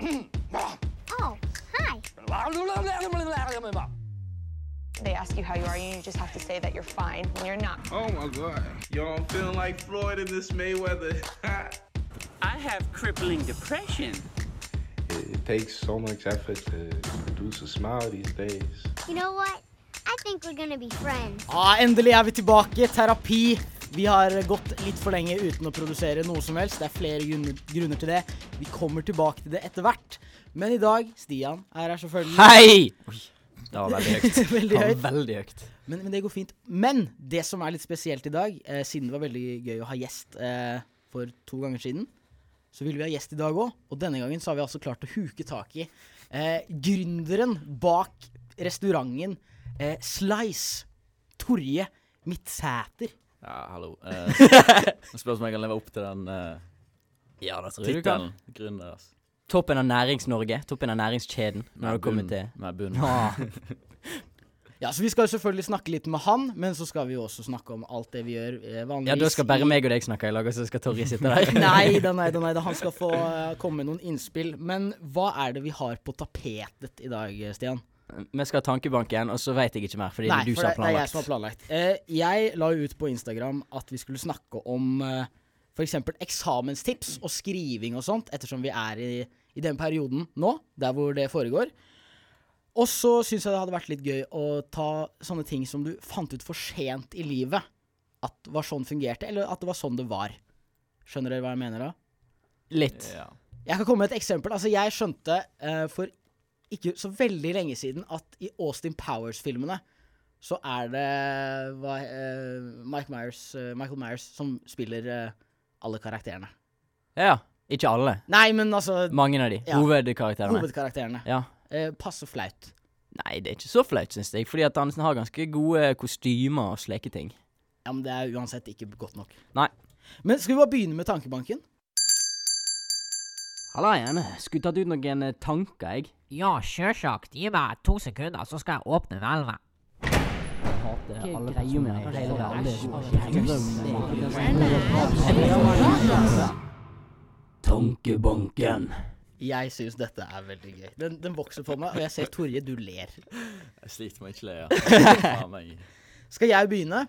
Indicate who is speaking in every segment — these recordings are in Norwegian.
Speaker 1: Oh, hi.
Speaker 2: They ask you how you are, and you just have to say that you're fine when you're not.
Speaker 3: Oh my God. Y'all feeling like Floyd in this Mayweather.
Speaker 4: I have crippling depression.
Speaker 5: It, it takes so much effort to produce a smile these days.
Speaker 1: You know what? I think we're gonna be friends.
Speaker 6: Ja, endelig er vi tilbake. Terapi. Vi har gått litt for lenge uten å produsere noe som helst. Det er flere grunner, grunner til det. Vi kommer tilbake til det etter hvert. Men i dag, Stian er her selvfølgelig.
Speaker 7: Hei! Oi, det var veldig høyt.
Speaker 6: Veldig
Speaker 7: Det var
Speaker 6: høyt.
Speaker 7: veldig høyt.
Speaker 6: Men, men det går fint. Men det som er litt spesielt i dag, eh, siden det var veldig gøy å ha gjest eh, for to ganger siden, så ville vi ha gjest i dag òg. Og denne gangen så har vi altså klart å huke tak i eh, gründeren bak restauranten eh, Slice, Torje Midtsæter.
Speaker 7: Ja, hallo. Eh, Spørs om jeg kan leve opp til den eh,
Speaker 8: Ja, det tror jeg du kan.
Speaker 7: tittelen. Gründer, ass.
Speaker 8: Toppen av Nærings-Norge. Toppen av næringskjeden. Når det kommer til
Speaker 7: Nei, bunn.
Speaker 8: ah,
Speaker 6: Ja, så vi skal jo selvfølgelig snakke litt med han, men så skal vi jo også snakke om alt det vi gjør eh, vanligvis.
Speaker 8: Ja, da skal bare
Speaker 6: i-
Speaker 8: meg og deg snakke i lag, og så skal Torry sitte der.
Speaker 6: Nei da, nei da, nei da. Han skal få eh, komme med noen innspill. Men hva er det vi har på tapetet i dag, eh, Stian?
Speaker 8: Vi skal ha tankebank igjen, og så veit jeg ikke mer, fordi det er du som
Speaker 6: det er
Speaker 8: har
Speaker 6: jeg
Speaker 8: planlagt.
Speaker 6: som har planlagt. Eh, jeg la jo ut på Instagram at vi skulle snakke om uh, f.eks. eksamenstips og skriving og sånt, ettersom vi er i, i den perioden nå, der hvor det foregår. Og så syns jeg det hadde vært litt gøy å ta sånne ting som du fant ut for sent i livet. At var sånn fungerte, eller at det var sånn det var. Skjønner dere hva jeg mener da?
Speaker 8: Litt.
Speaker 7: Ja.
Speaker 6: Jeg kan komme med et eksempel. Altså, jeg skjønte eh, for ikke så veldig lenge siden at i Austin Powers-filmene så er det hva, eh, Mike Myers, eh, Michael Myers som spiller eh, alle karakterene.
Speaker 8: Ja. Ikke alle.
Speaker 6: Nei, men altså
Speaker 8: Mange av de.
Speaker 6: Ja.
Speaker 8: Hovedkarakterene.
Speaker 6: hovedkarakterene.
Speaker 8: Ja.
Speaker 6: Eh, passe flaut.
Speaker 8: Nei, det er ikke så flaut, syns jeg, fordi at han har ganske gode kostymer og slike ting.
Speaker 6: Ja, men det er uansett ikke godt nok.
Speaker 8: Nei.
Speaker 6: Men skal vi bare begynne med tankebanken?
Speaker 8: Halla igjen. Skulle tatt ut noen eh, tanker, jeg.
Speaker 9: Ja, sjølsagt. Gi meg to sekunder, så skal jeg åpne hvelvet.
Speaker 8: Hater alle personer i hele verden. Tankebanken.
Speaker 6: Jeg syns dette er veldig gøy. Den, den vokser på meg, og jeg ser Torje, du ler.
Speaker 7: Jeg sliter med ikke le, ja. Faen meg.
Speaker 6: Skal jeg begynne?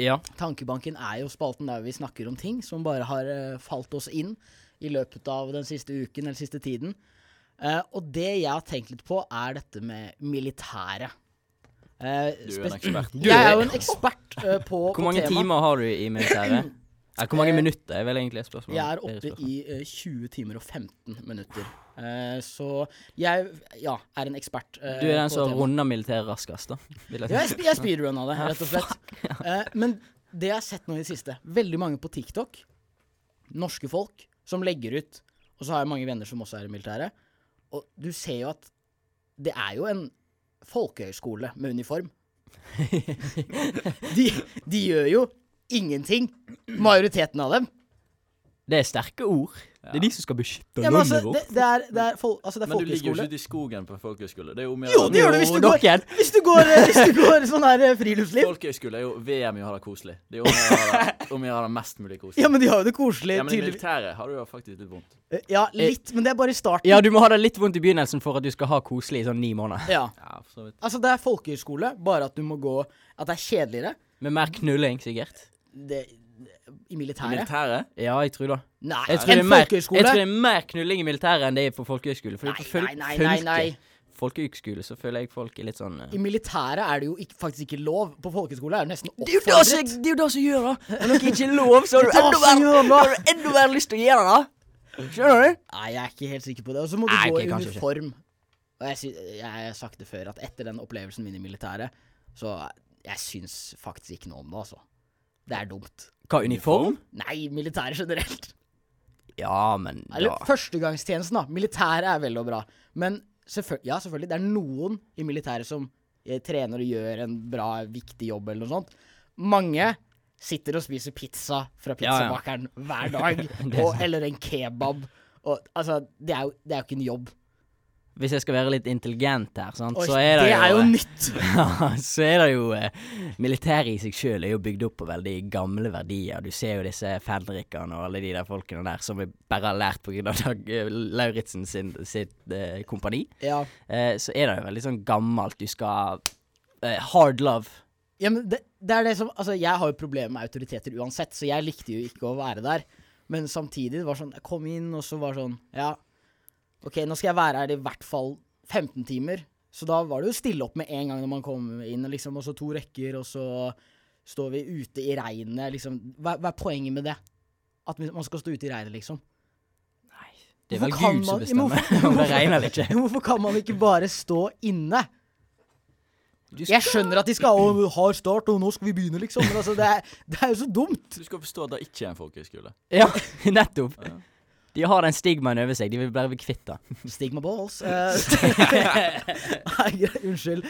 Speaker 8: Ja.
Speaker 6: Tankebanken er jo spalten der vi snakker om ting som bare har eh, falt oss inn i løpet av den siste uken eller siste tiden. Eh, og det jeg har tenkt litt på, er dette med militæret. Eh,
Speaker 7: Du er en
Speaker 6: spes-
Speaker 7: ekspert.
Speaker 6: Jeg er jo en ekspert eh, på, på
Speaker 8: Hvor mange
Speaker 6: tema.
Speaker 8: timer har du i militæret? Eller hvor mange
Speaker 6: Eh,
Speaker 8: minutter er vel egentlig et spørsmål?
Speaker 6: Jeg er
Speaker 8: Det et
Speaker 6: oppe
Speaker 8: spørsmål.
Speaker 6: i eh, 20 timer og 15 minutter. Eh, så jeg ja, er en ekspert. eh,
Speaker 8: Du er den
Speaker 6: på
Speaker 8: som
Speaker 6: temaet.
Speaker 8: runder militæret raskest, da. Vil jeg
Speaker 6: Ja, jeg,
Speaker 8: si.
Speaker 6: sp jeg speedrunna det, rett og slett. Eh, men det jeg har sett nå i det siste, veldig mange på TikTok, norske folk, som legger ut Og så har jeg mange venner som også er i militæret. Og du ser jo at det er jo en folkehøyskole med uniform. De, de gjør jo ingenting, majoriteten av dem.
Speaker 8: Det er sterke ord. Det er de som skal beskytte
Speaker 6: Ja, men altså,
Speaker 8: landet vårt.
Speaker 6: det, det er, det er, fol altså, det er
Speaker 7: Men du ligger jo
Speaker 6: folkehøyskole.
Speaker 7: ikke ute i skogen på folkehøyskole. Det er jo mer
Speaker 6: Jo, det gjør du hvis du går,
Speaker 8: dere.
Speaker 6: hvis du går, eh, hvis du går sånn her eh, friluftsliv.
Speaker 7: Folkehøyskole er jo VM i å ha det koselig. Det er jo om å ha det- om å ha det mest mulig koselig.
Speaker 6: Ja, men de har jo det koselig,
Speaker 7: Ja, men i
Speaker 6: tydeligvis.
Speaker 7: militæret har du jo faktisk litt vondt.
Speaker 6: Eh, Ja, litt, men det er bare i starten.
Speaker 8: Ja, du må ha det litt vondt i begynnelsen for at du skal ha koselig i sånn ni måneder.
Speaker 6: Ja.
Speaker 7: Ja, for så vidt.
Speaker 6: Altså, det er folkehøyskole, bare at du må gå At det er kjedeligere
Speaker 8: Med mer knulling, sikkert.
Speaker 6: det, i
Speaker 7: I
Speaker 6: militæret.
Speaker 7: militæret?
Speaker 8: Ja, jeg tror det.
Speaker 6: Nei,
Speaker 8: Jeg tror, det
Speaker 6: en
Speaker 8: er mer, jeg
Speaker 6: folkehøyskole
Speaker 8: tror det er mer knulling i militæret enn det er på folkehøyskole. Fordi
Speaker 6: Nei,
Speaker 8: på føl-
Speaker 6: nei, nei, nei, nei.
Speaker 8: fylke- folkehøyskole så føler jeg folk er litt sånn eh,
Speaker 6: I militæret er det jo ikke, faktisk ikke lov. På folkehøyskole er det nesten
Speaker 8: Det er jo det som,
Speaker 6: oppfordret.
Speaker 8: det er jo det som gjør det. Når noe ikke er lov, så har du
Speaker 6: Det er
Speaker 8: enda
Speaker 6: det som gjør
Speaker 8: mer, har du enda mer lyst til å gjøre det. da. Skjønner du?
Speaker 6: Nei, jeg er ikke helt sikker på det. Og så må du
Speaker 8: Nei,
Speaker 6: gå
Speaker 8: ok,
Speaker 6: i
Speaker 8: kanskje ikke.
Speaker 6: uniform. Og jeg, sy jeg har sagt det før, at etter den opplevelsen min i militæret, så jeg syns faktisk ikke noe om det, altså. Det er dumt.
Speaker 8: Hva, uniform?
Speaker 6: Nei, militæret generelt.
Speaker 8: Ja, men da
Speaker 6: Eller førstegangstjenesten, da. Militæret er vel og bra. Men selvføl ja, selvfølgelig, det er noen i militæret som eh, trener og gjør en bra, viktig jobb eller noe sånt. Mange sitter og spiser pizza fra
Speaker 8: Ja, ja.
Speaker 6: pizzabakeren hver dag. og, eller en kebab. Og, altså, det er, jo, det er jo ikke en jobb.
Speaker 8: hvis jeg skal være litt intelligent her, sant,
Speaker 6: Oi,
Speaker 8: så er det,
Speaker 6: er jo
Speaker 8: eh,
Speaker 6: nytt.
Speaker 8: Ja, så er det jo eh, Militæret i seg sjøl er jo bygd opp på veldig gamle verdier. Du ser jo disse fenrikene og alle de der folkene der som vi bare har lært pga. Dag eh, Lauritzen sin, sitt eh, kompani.
Speaker 6: Ja.
Speaker 8: Eh, så er det jo veldig sånn gammelt. Du skal eh, Hard love.
Speaker 6: ja, men det, det er det som Altså, jeg har jo problemer med autoriteter uansett, så jeg likte jo ikke å være der. Men samtidig, det var sånn Jeg kom inn, og så var sånn Ja, OK, nå skal jeg være her i hvert fall 15 timer. Så da var det jo stille opp med en gang når man kom inn, liksom, og så to rekker, og så står vi ute i regnet, liksom. Hva, hva er poenget med det? At man skal stå ute i regnet, liksom.
Speaker 8: Det er vel
Speaker 6: Hvorfor kan
Speaker 8: Gud som
Speaker 6: man-
Speaker 8: bestemmer
Speaker 6: Hvorfor-
Speaker 8: om det regner eller ikke.
Speaker 6: Hvorfor kan man ikke bare stå inne?
Speaker 8: Du
Speaker 6: Jeg skjønner at de skal ha hard start, og nå skal vi begynne, liksom. Men altså, det er, det er jo så dumt.
Speaker 7: Du skal forstå at det ikke er en folkehøyskole.
Speaker 8: Ja, nettopp. De har den stigmaen over seg. De vil bare bli kvitt det.
Speaker 6: Stigma balls. eh. Nei, greit, unnskyld.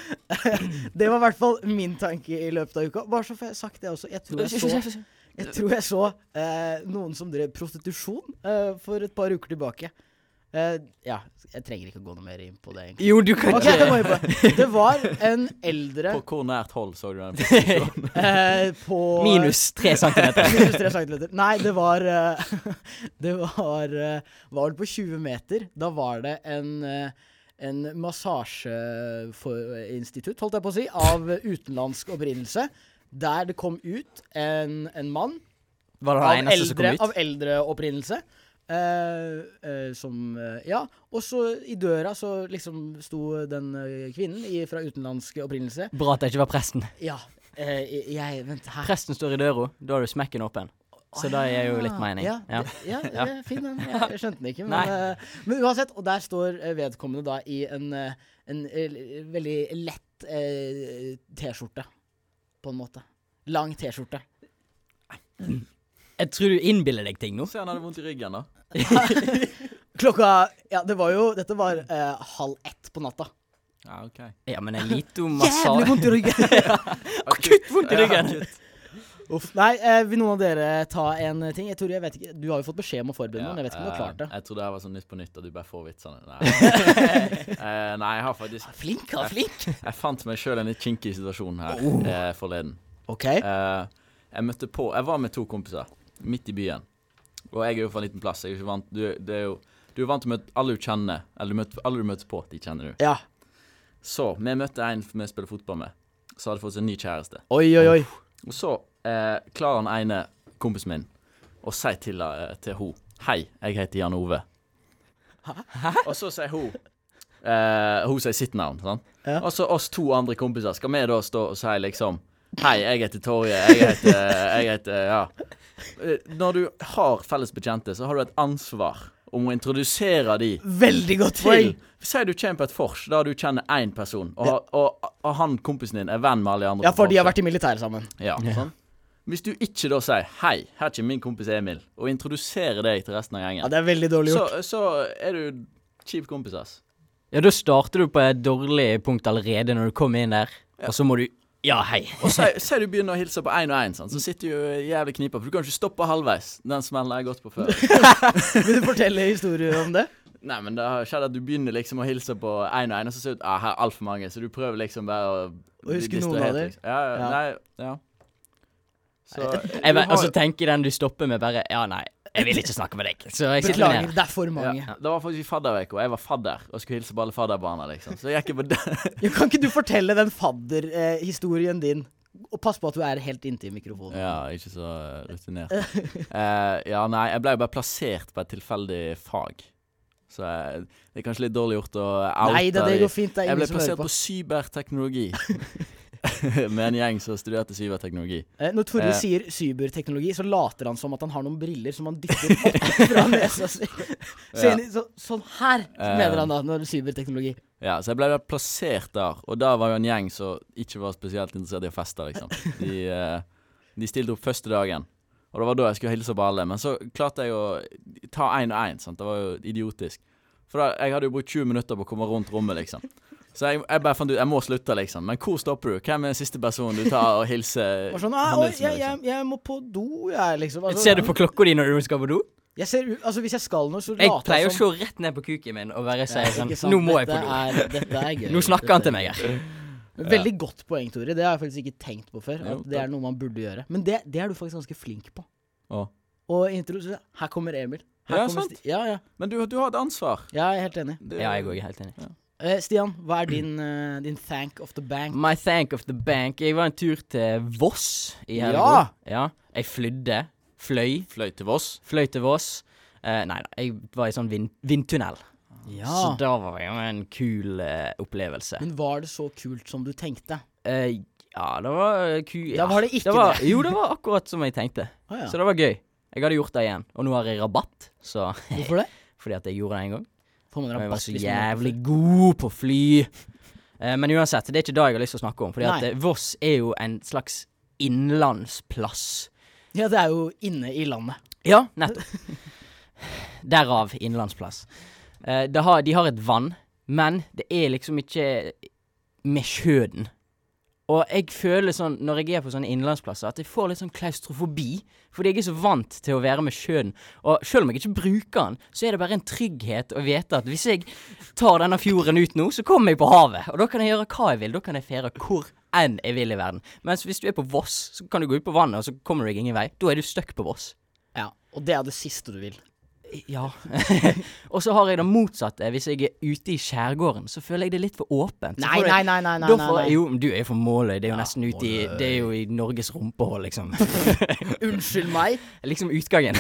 Speaker 6: Det var i hvert fall min tanke i løpet av uka. Bare så får jeg sagt det også. Jeg tror jeg så, jeg tror jeg så eh, noen som drev prostitusjon eh, for et par uker tilbake. Eh, ja, jeg trenger ikke å gå noe mer inn på det, egentlig.
Speaker 8: Jo, du kan
Speaker 6: Ok,
Speaker 8: ikke
Speaker 6: jeg må inn på det. Det var en eldre
Speaker 7: På hvor nært hold så du den? prostitusjonen?
Speaker 6: eh, på
Speaker 8: Minus tre centimeter.
Speaker 6: Minus tre centimeter. Nei, det var eh, Det var eh, Var vel på 20 meter. Da var det en eh, en massasjeinstitutt, holdt jeg på å si, av utenlandsk opprinnelse. Der det kom ut en, en mann
Speaker 8: Var det
Speaker 6: av
Speaker 8: den eneste som
Speaker 6: eldre,
Speaker 8: kom ut?
Speaker 6: av eldre opprinnelse. eh, eh, som eh, Ja. Og så i døra så liksom sto den eh, kvinnen i, fra utenlandsk opprinnelse.
Speaker 8: Bra at det ikke var presten.
Speaker 6: Ja. eh, jeg Vent, her
Speaker 8: Presten står i døra, da har du smekken åpen. Så det gir jo litt mening.
Speaker 6: Ah, Ja,
Speaker 8: Ja.
Speaker 6: det- ja,
Speaker 8: Ja.
Speaker 6: det er fin den. Jeg, jeg skjønte den ikke, men,
Speaker 8: Nei.
Speaker 6: eh, men uansett. Og der står eh, vedkommende da i en, eh, en eh, l- veldig lett eh, T-skjorte, på en måte. Lang T-skjorte.
Speaker 8: Jeg tror du innbiller deg ting nå.
Speaker 7: Se, han hadde vondt i ryggen, da.
Speaker 6: Klokka Ja, det var jo Dette var eh, halv ett på natta.
Speaker 7: Ja, ok.
Speaker 8: Ja, men en
Speaker 6: Jævlig
Speaker 8: liten massasje
Speaker 6: vondt i ryggen!
Speaker 7: Akutt vondt
Speaker 8: i ryggen.
Speaker 6: Uff. Nei, eh, vil noen av dere ta en ting? Jeg tror jeg vet ikke Du har jo fått beskjed om å forberede
Speaker 7: Ja,
Speaker 6: noen. Jeg vet ikke om du har klart
Speaker 7: eh,
Speaker 6: det.
Speaker 7: Jeg tror det her var sånn Nytt på nytt, at du bare får vitsene. Nei, Eh, nei jeg har faktisk
Speaker 6: Flink, ja, flink.
Speaker 7: Jeg fant meg sjøl i en litt kinkig situasjon her
Speaker 6: Oh.
Speaker 7: eh, forleden.
Speaker 6: OK.
Speaker 7: Eh, jeg møtte på Jeg var med to kompiser midt i byen. Og jeg er jo fra en liten plass. Jeg er ikke vant, du, det er jo, du er vant til å møte alle du kjenner. Eller du møter, alle du møter på, de kjenner du.
Speaker 6: Ja.
Speaker 7: Så vi møtte en vi spiller fotball med, som hadde fått seg en ny kjæreste.
Speaker 6: Oi, oi, oi.
Speaker 7: Og så eh, klarer han ene kompisen min å si til, eh, til hun Hei, jeg heter Jan Ove. Hæ? Og så sier hun eh, Hun sier sitt navn, sant?
Speaker 6: Ja.
Speaker 7: Og så oss to andre kompiser, skal vi da stå og si liksom Hei, jeg heter Torje, jeg heter Jeg heter Ja. Eh, Når du har felles bekjente, så har du et ansvar om å introdusere de
Speaker 6: Veldig godt
Speaker 7: til
Speaker 6: poeng.
Speaker 7: Si du kommer på et vors der du kjenner én person, og, har- og, og han kompisen din er venn med alle de andre.
Speaker 6: Ja,
Speaker 7: på
Speaker 6: for de har
Speaker 7: vorset.
Speaker 6: vært i militæret sammen.
Speaker 7: Ja, sånn. Hvis du ikke da sier 'hei, her kommer min kompis Emil', og introduserer deg til resten av
Speaker 6: Ja,
Speaker 7: gjengen,
Speaker 6: det er veldig dårlig gjort.
Speaker 7: så, så er du kjip kompis, ass.
Speaker 8: Ja, da starter du på et dårlig punkt allerede når du kommer inn der, og så må du Ja, hei.
Speaker 7: Og si- si du begynner å hilse på én og én, sånn, så sitter du i jævlig knipa, for du kan ikke stoppe halvveis. Den smellen har jeg gått på før.
Speaker 6: Vil du fortelle historier om det?
Speaker 7: Nei, men det har skjedd at du begynner liksom å hilse på én og én, og så ser du ah, her er altfor mange, så du prøver liksom bare å bli
Speaker 6: huske noen av
Speaker 7: distrahert,
Speaker 6: dem.
Speaker 7: liksom. Ja,
Speaker 6: Ja.
Speaker 7: ja. Nei, ja. Så
Speaker 8: Jeg,
Speaker 7: du
Speaker 8: bare-
Speaker 7: har-
Speaker 8: altså, tenker den du stopper med, bare Ja, nei, jeg vil ikke snakke med deg. Så jeg sitter
Speaker 6: Beklager,
Speaker 8: ned.
Speaker 6: det er for mange.
Speaker 7: ja, Det var faktisk i fadderveka, og jeg var fadder og skulle hilse på alle fadderbarna, liksom. Så jeg gikk jeg på den.
Speaker 6: Ja, kan ikke du fortelle den fadderhistorien din? Og pass på at du er helt inntil mikrofonen.
Speaker 7: Ja, ikke så eh, rutinert. Eh, ja, nei, jeg ble jo bare plassert på et tilfeldig fag. Så eh, det er kanskje litt dårlig gjort å oute
Speaker 6: Nei da, det
Speaker 7: de-
Speaker 6: går fint. Det er
Speaker 7: Jeg ble
Speaker 6: ingen som hører
Speaker 7: plassert
Speaker 6: på.
Speaker 7: på cyberteknologi. Med en gjeng som studerte cyberteknologi.
Speaker 6: Eh, Når Torje
Speaker 7: Eh.
Speaker 6: sier cyberteknologi, så later han som at han har noen briller som han dytter opp fra nesa si. Så
Speaker 7: Ja.
Speaker 6: inn i- så, sånn her
Speaker 7: Eh.
Speaker 6: mener han da, når det er cyberteknologi.
Speaker 7: Ja, Så jeg ble bare plassert der, og da var jo en gjeng som ikke var spesielt interessert i å feste, liksom. De, eh, de stilte opp første dagen, og det var da jeg skulle hilse på alle. Men så klarte jeg å ta én og én, sant. Det var jo idiotisk. For da, jeg hadde jo brukt 20 minutter på å komme rundt rommet, liksom. Så jeg, jeg bare fant ut jeg må slutte, liksom. Men hvor stopper du? Hvem er den siste personen du tar og hilser?
Speaker 8: Eh,
Speaker 6: Bare sånn «Ah, oi,
Speaker 7: hånden sin
Speaker 6: jeg,
Speaker 7: med,
Speaker 6: jeg, jeg må på do, jeg, liksom. Altså,
Speaker 8: Ser du på klokka di når du skal på do?
Speaker 6: Jeg ser, u- altså Hvis jeg skal noe, så
Speaker 8: Jeg
Speaker 6: later
Speaker 8: pleier
Speaker 6: jeg
Speaker 8: å se rett ned på kuken min og være
Speaker 6: Ja,
Speaker 8: sånn
Speaker 6: ikke sant?
Speaker 8: Nå må jeg
Speaker 6: Dette
Speaker 8: på do.
Speaker 6: er- dette er gøy.
Speaker 8: Nå snakker han
Speaker 6: Dette
Speaker 8: til meg her.
Speaker 6: Men Veldig godt poeng, Tore. Det har jeg faktisk ikke tenkt på før.
Speaker 7: Jo,
Speaker 6: At det er noe man burde gjøre. Men det, det er du faktisk ganske flink på.
Speaker 7: Å.
Speaker 6: Og i intro så Her kommer Emil. Her
Speaker 7: Ja,
Speaker 6: kommer
Speaker 7: sant.
Speaker 6: Sti- ja, ja.
Speaker 7: Men du, du har et ansvar.
Speaker 6: Jeg er helt enig.
Speaker 7: Det-
Speaker 8: Ja, jeg òg er helt enig.
Speaker 6: Eh, Stian, hva er din, eh, din thank of the bank?
Speaker 8: My thank of the bank. Jeg var en tur til Voss i helga.
Speaker 6: Ja!
Speaker 8: ja. Jeg flydde. Fløy.
Speaker 7: Fløy til Voss.
Speaker 8: Fløy til Voss. Eh, nei da, jeg var i sånn vind vindtunnel. Så
Speaker 6: Ja.
Speaker 8: da var det jo en kul eh, opplevelse.
Speaker 6: Men var det så kult som du tenkte?
Speaker 8: Eh, ja, det var eh, ku... Ja,
Speaker 6: Da var det ikke
Speaker 8: var,
Speaker 6: det.
Speaker 8: Jo, det var akkurat som jeg tenkte.
Speaker 6: Å, ja.
Speaker 8: Så det var gøy. Jeg hadde gjort det igjen. Og nå har jeg rabatt, så
Speaker 6: Hvorfor det?
Speaker 8: Fordi at jeg gjorde det en gang.
Speaker 6: Får man
Speaker 8: Og jeg var
Speaker 6: rabatt
Speaker 8: så
Speaker 6: hvis man er på
Speaker 8: jævlig
Speaker 6: liksom fly?
Speaker 8: god på fly. Eh, Men uansett, det er ikke det jeg har lyst til å snakke om. Fordi at
Speaker 6: Nei.
Speaker 8: eh, Voss er jo en slags innlandsplass.
Speaker 6: Ja, det er jo inne i landet.
Speaker 8: Ja, nettopp. Derav innlandsplass. Eh, det har, de har et vann, men det er liksom ikke med sjøen. Og jeg føler sånn, når jeg er på sånne innlandsplasser, at jeg får litt sånn klaustrofobi. Fordi jeg er så vant til å være med sjøen. Og selv om jeg ikke bruker den, så er det bare en trygghet å vite at hvis jeg tar denne fjorden ut nå, så kommer jeg på havet. Og da kan jeg gjøre hva jeg vil. Da kan jeg fere hvor enn jeg vil i verden. Mens hvis du er på Voss, så kan du gå ut på vannet, og så kommer du deg ingen vei. Da er du stuck på Voss.
Speaker 6: Ja, Og det er det siste du vil.
Speaker 8: Ja. og så har jeg det motsatte. Hvis jeg er ute i skjærgården, så føler jeg det er litt for åpent. Så
Speaker 6: Nei,
Speaker 8: får jeg-
Speaker 6: nei, nei, nei, nei,
Speaker 8: Da
Speaker 6: nei,
Speaker 8: får jeg-
Speaker 6: nei.
Speaker 8: Jo, men du er jo fra Måløy. Det er jo
Speaker 6: Ja,
Speaker 8: nesten ute i Det er jo i Norges rumpehull, liksom.
Speaker 6: Unnskyld meg.
Speaker 8: liksom utgangen.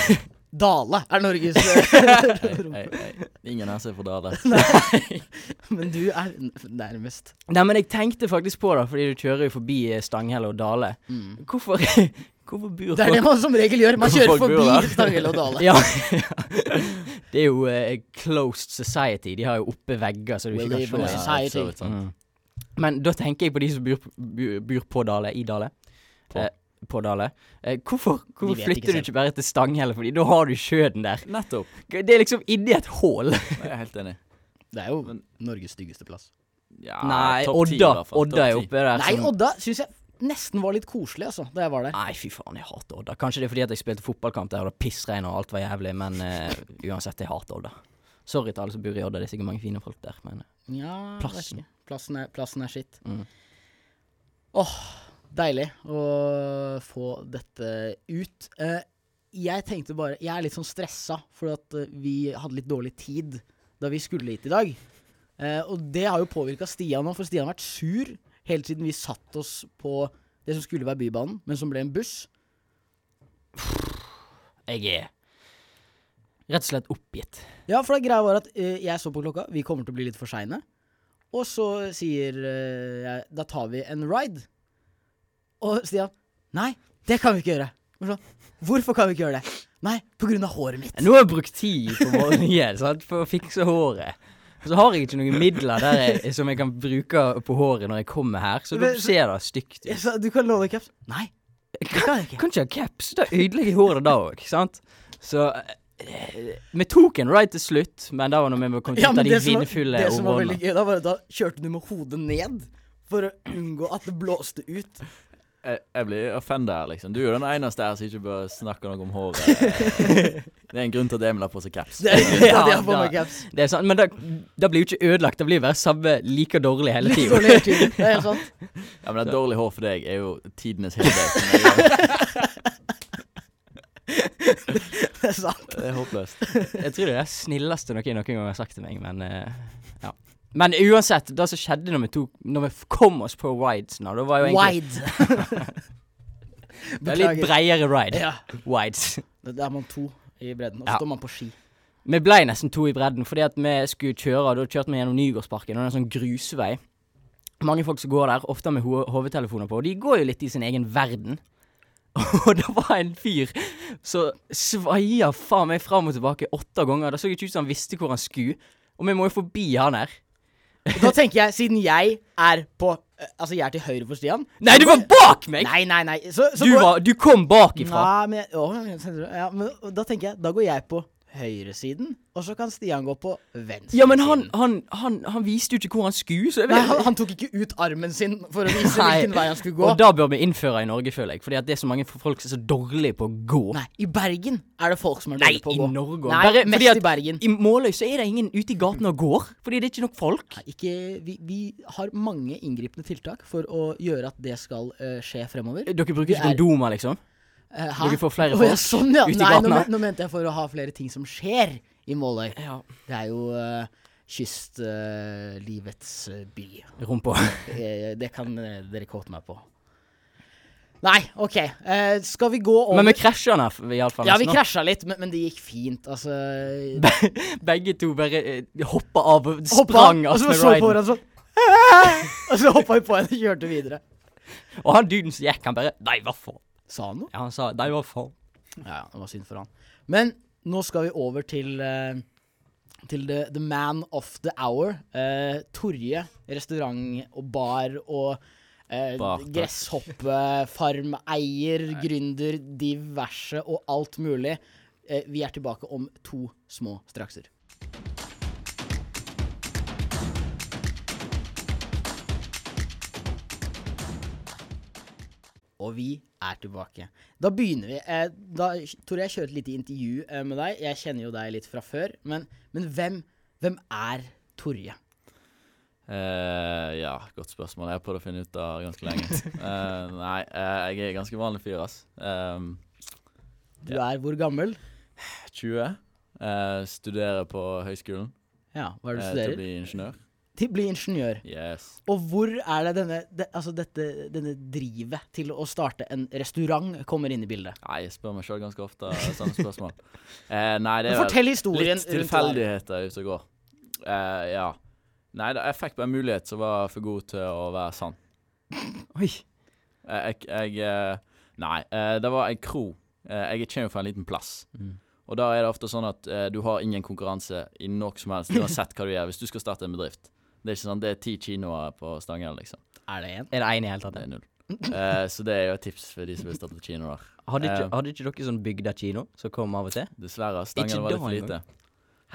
Speaker 6: Dale er Norges
Speaker 7: Hei, hei. Ingen her ser for Dale.
Speaker 6: Men du er n- nærmest.
Speaker 8: nei, men jeg tenkte faktisk på det, fordi du kjører jo forbi eh, Stanghelle og Dale. Hvorfor Hvorfor bor
Speaker 6: Mm. Det er det
Speaker 8: folk
Speaker 6: man som regel gjør. Man kjører
Speaker 7: Folk bor der.
Speaker 6: forbi Stanghelle og Dale.
Speaker 8: ja. det er jo eh, closed society. De har jo oppe vegger, så du
Speaker 6: We
Speaker 8: ikke
Speaker 6: live in a
Speaker 8: kan se.
Speaker 6: society.
Speaker 7: Ja, for så vidt sant.
Speaker 8: Men da tenker jeg på de som bor, bor- bor på Dale, i Dale.
Speaker 7: På.
Speaker 8: Eh, på Dale. Eh, hvorfor hvorfor
Speaker 6: vet ikke
Speaker 8: flytter du
Speaker 6: selv.
Speaker 8: ikke bare til Stanghelle, fordi da har du sjøen der?
Speaker 7: Nettopp.
Speaker 8: Det er liksom inni et hull.
Speaker 7: Jeg er helt enig.
Speaker 6: Det er jo
Speaker 7: Men-
Speaker 6: Norges styggeste plass.
Speaker 7: Ja,
Speaker 8: Nei,
Speaker 7: topp ti i
Speaker 8: Odda.
Speaker 7: hvert fall.
Speaker 8: Odda er
Speaker 7: Topp ti.
Speaker 8: oppe der.
Speaker 6: Nei,
Speaker 8: som-
Speaker 6: Odda syns jeg nesten var litt koselig, altså, da jeg var der.
Speaker 8: Nei, fy faen, jeg hater Odda. Kanskje det er fordi at jeg spilte fotballkamp der og det pissregn og alt var jævlig, men eh, uansett, jeg hater Odda. Sorry til alle som bor i Odda, det er sikkert mange fine folk der, men
Speaker 6: Ja, jeg vet
Speaker 8: Plassen.
Speaker 6: ikke. Plassen, er, plassen er skitt. Åh,
Speaker 8: Mm.
Speaker 6: deilig å få dette ut. Eh, jeg tenkte bare Jeg er litt sånn stressa, for at eh, vi hadde litt dårlig tid da vi skulle hit i dag. Eh, og det har jo påvirka Stian nå, for Stian har vært sur helt siden vi satt oss på det som skulle være Bybanen, men som ble en buss.
Speaker 8: eh, jeg er rett og slett oppgitt.
Speaker 6: Ja, for det greia var at eh, jeg så på klokka, vi kommer til å bli litt for seine. Og så sier eh, jeg da tar vi en ride. Og Stian nei, det kan vi ikke gjøre. Og så, Hvorfor kan vi ikke gjøre det? Nei, på grunn av håret mitt.
Speaker 8: Nå har jeg brukt tid på olje sant? for å fikse håret. Og så har jeg ikke noen midler der jeg, eh, som jeg kan bruke på håret når jeg kommer her, så da
Speaker 6: Men-
Speaker 8: ser det stygt
Speaker 6: Jeg
Speaker 8: ut.
Speaker 6: sa, du kan låne caps. Nei, det kan jeg ikke.
Speaker 8: Kan ikke ha caps, da ødelegger jeg håret da òg, sant? Så eh, Vi tok en ride til slutt, men da var når vi kom ut
Speaker 6: Ja,
Speaker 8: av
Speaker 6: men
Speaker 8: de
Speaker 6: det som, var,
Speaker 8: vindfulle
Speaker 6: det som var veldig
Speaker 8: områdene.
Speaker 6: gøy, da var at da kjørte du med hodet ned for å unngå at det blåste ut.
Speaker 7: Jeg, jeg blir offenda her, liksom. Du er jo den eneste her som ikke bør snakke noe om håret. Det er en grunn til at Emil har på seg caps.
Speaker 6: Det er grunnen til at jeg
Speaker 8: Ja,
Speaker 6: har på
Speaker 8: da-
Speaker 6: meg caps.
Speaker 8: Det er sant, men da, da blir jo ikke ødelagt, da blir det bare samme like dårlig hele
Speaker 6: Litt
Speaker 8: tida.
Speaker 6: dårlig hele tiden. Det er helt sant.
Speaker 7: Ja, men det er dårlig hår for deg er jo tidenes hinder.
Speaker 6: Det er sant.
Speaker 7: Det er håpløst.
Speaker 8: Jeg tror det er det snilleste noen noen gang har sagt til meg, men eh, ja. Men uansett, det som skjedde når vi, tok, når vi f- kom oss på rides nå, det var jo egentlig
Speaker 6: Wide.
Speaker 8: det var litt breiere ride.
Speaker 6: Ja.
Speaker 8: Wides.
Speaker 6: Det er man to i bredden, og så
Speaker 8: Ja.
Speaker 6: står man på ski.
Speaker 8: Vi ble nesten to i bredden, fordi at vi skulle kjøre, og da kjørte vi gjennom Nygårdsparken, og det er en sånn grusvei. Mange folk som går der, ofte med ho- hovedtelefoner på, og de går jo litt i sin egen verden. Og det var en fyr som svaia faen meg fram og tilbake åtte ganger. Det så ikke ut som han visste hvor han skulle. Og vi må jo forbi han her.
Speaker 6: Og da tenker jeg, siden jeg er på eh, Altså, jeg er til høyre for Stian.
Speaker 8: Nei, du var bak meg!
Speaker 6: Nei, nei, nei. Så, så
Speaker 8: du,
Speaker 6: går,
Speaker 8: var, du kom bakifra.
Speaker 6: Nei, men, jeg- å, jeg- ja, men og da tenker jeg, da går jeg på høyresiden, og så kan Stian gå på venstre.
Speaker 8: Ja, men han, han, han, han viste jo ikke hvor han skulle, så jeg
Speaker 6: Nei,
Speaker 8: vet-
Speaker 6: han, han tok ikke ut armen sin for å vise
Speaker 8: Nei.
Speaker 6: hvilken vei han skulle gå.
Speaker 8: Og da bør vi innføre i Norge, føler jeg. Fordi at det er så mange folk som er så dårlige på å gå.
Speaker 6: Nei, i Bergen er det folk som er
Speaker 8: Nei,
Speaker 6: dårlige på å
Speaker 8: i
Speaker 6: gå.
Speaker 8: Norge også.
Speaker 6: Nei,
Speaker 8: Bare
Speaker 6: mest
Speaker 8: fordi at-
Speaker 6: i Bergen.
Speaker 8: I Måløy så er det ingen ute i gaten og går, fordi det er ikke nok folk.
Speaker 6: Nei, ikke, vi, vi har mange inngripende tiltak for å gjøre at det skal eh, skje fremover.
Speaker 8: Dere bruker
Speaker 6: Det
Speaker 8: ikke
Speaker 6: er-
Speaker 8: kondomer, liksom?
Speaker 6: Eh, hæ?
Speaker 8: Dere får
Speaker 6: Å,
Speaker 8: flere folk
Speaker 6: ja, sånn, ja.
Speaker 8: ute i
Speaker 6: Nei, nå,
Speaker 8: gatene.
Speaker 6: men- nå mente jeg for å ha flere ting som skjer i Måløy.
Speaker 8: Ja.
Speaker 6: Det er jo eh, kystlivets eh, by.
Speaker 8: Rumpa.
Speaker 6: Eh, det kan eh, dere kåte meg på. Nei, OK. Eh, skal vi gå over
Speaker 8: Men vi krasja den her, iallfall.
Speaker 6: Ja, vi krasja litt, men, men det gikk fint. Altså
Speaker 8: Begge to bare eh, hoppa av og
Speaker 6: Hoppa,
Speaker 8: sprang
Speaker 6: og
Speaker 8: av
Speaker 6: så
Speaker 8: med
Speaker 6: så på
Speaker 8: riden.
Speaker 6: hverandre sånn Og så hoppa vi på henne og kjørte videre.
Speaker 8: Og han duden som gikk, han bare Nei, hva faen?
Speaker 6: Sa han noe?
Speaker 8: Ja, han sa Nei, hva faen?
Speaker 6: Ja, ja, det var synd for han. Men nå skal vi over til eh, Til the, the man of the hour. Eh, Torje restaurant og bar og eh,
Speaker 7: Bar, takk.
Speaker 6: gresshoppefarmeier, gründer, diverse og alt mulig. Eh, vi er tilbake om to små strakser. Og vi er tilbake. Da begynner vi. Eh, da, Tore, jeg kjører et lite intervju eh, med deg. Jeg kjenner jo deg litt fra før. Men, men hvem, hvem er Torje?
Speaker 7: Eh, ja, godt spørsmål. Jeg har prøvd å finne ut av ganske lenge. Eh, nei, eh, jeg er en ganske vanlig fyr, ass. Ehm,
Speaker 6: Du er hvor gammel?
Speaker 7: 20. eh, studerer på høyskolen.
Speaker 6: Ja, hva er det du
Speaker 7: eh, til å
Speaker 6: studerer?
Speaker 7: bli ingeniør.
Speaker 6: Til å bli ingeniør.
Speaker 7: Yes.
Speaker 6: Og hvor er det denne, det, altså dette, denne drivet til å starte en restaurant kommer inn i bildet?
Speaker 7: Nei, jeg spør meg sjøl ganske ofte sånne spørsmål. Eh, nei,
Speaker 6: Men
Speaker 7: det er vel-
Speaker 6: fortell historien
Speaker 7: Litt
Speaker 6: rundt det der.
Speaker 7: tilfeldigheter ute og går. Eh, ja. Nei, da, jeg fikk bare en mulighet som var for god til å være sann.
Speaker 8: Oi.
Speaker 7: Eh, Jeg, jeg eh, Nei, eh, det var en kro. Eh, Jeg kommer fra en liten plass.
Speaker 8: Mm.
Speaker 7: Og da er det ofte sånn at eh, du har ingen konkurranse i noe som helst, uansett hva du gjør, hvis du skal starte en bedrift. Det er ikke sånn, det er ti kinoer på Stanghelle, liksom.
Speaker 6: Er det en?
Speaker 8: Er det en i hele tatt?
Speaker 7: Det er null. Eh, så det er jo et tips for de som vil starte kino der.
Speaker 8: Hadde ikke,
Speaker 7: Eh.
Speaker 8: hadde ikke dere sånn bygdakino som kom av og til?
Speaker 7: Dessverre, Stanghelle var
Speaker 8: da
Speaker 7: litt for lite.
Speaker 8: engang.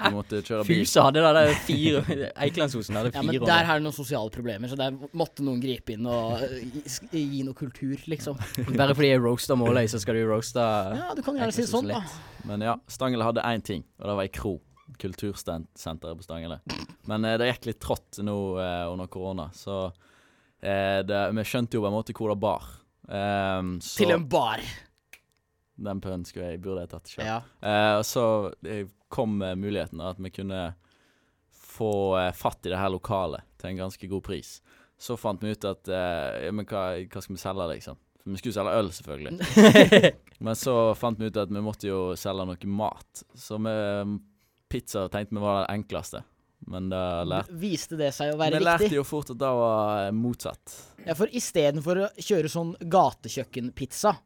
Speaker 7: Du måtte kjøre bil.
Speaker 8: Fusa hadde det der fire Eikelandsosen hadde
Speaker 6: Ja,
Speaker 8: fire
Speaker 6: men
Speaker 8: år.
Speaker 6: Der er det noen sosiale problemer, så der måtte noen gripe inn og eh, gi- gi noe kultur, liksom.
Speaker 8: Bare fordi jeg roaster Måløy, så skal du roaste
Speaker 6: Ja, du kan gjerne si det sånn, da.
Speaker 7: Men ja, Stanghelle hadde én ting, og det var ei kro. Kultursenteret på Stanghelle. Men eh, det gikk litt trått nå eh, under korona, så eh, det, Vi skjønte jo på en måte hvor det bar. Ehm, så
Speaker 6: Til en bar.
Speaker 7: den pønnen skulle jeg burde jeg tatt sjøl.
Speaker 6: Ja.
Speaker 7: Eh, og så eh, kom eh, muligheten da, at vi kunne få eh, fatt i det her lokalet til en ganske god pris. Så fant vi ut at eh, ja, men hva, hva skal vi selge, liksom? For vi skulle selge øl, selvfølgelig. Men så fant vi ut at vi måtte jo selge noe mat. Så vi, mm, pizza tenkte vi var det enkleste. Men det lærte
Speaker 6: Viste det seg å
Speaker 7: Vi
Speaker 6: være
Speaker 7: lærte
Speaker 6: riktig?
Speaker 7: jo fort at det var eh, motsatt.
Speaker 6: Ja, for istedenfor å kjøre sånn gatekjøkkenpizza,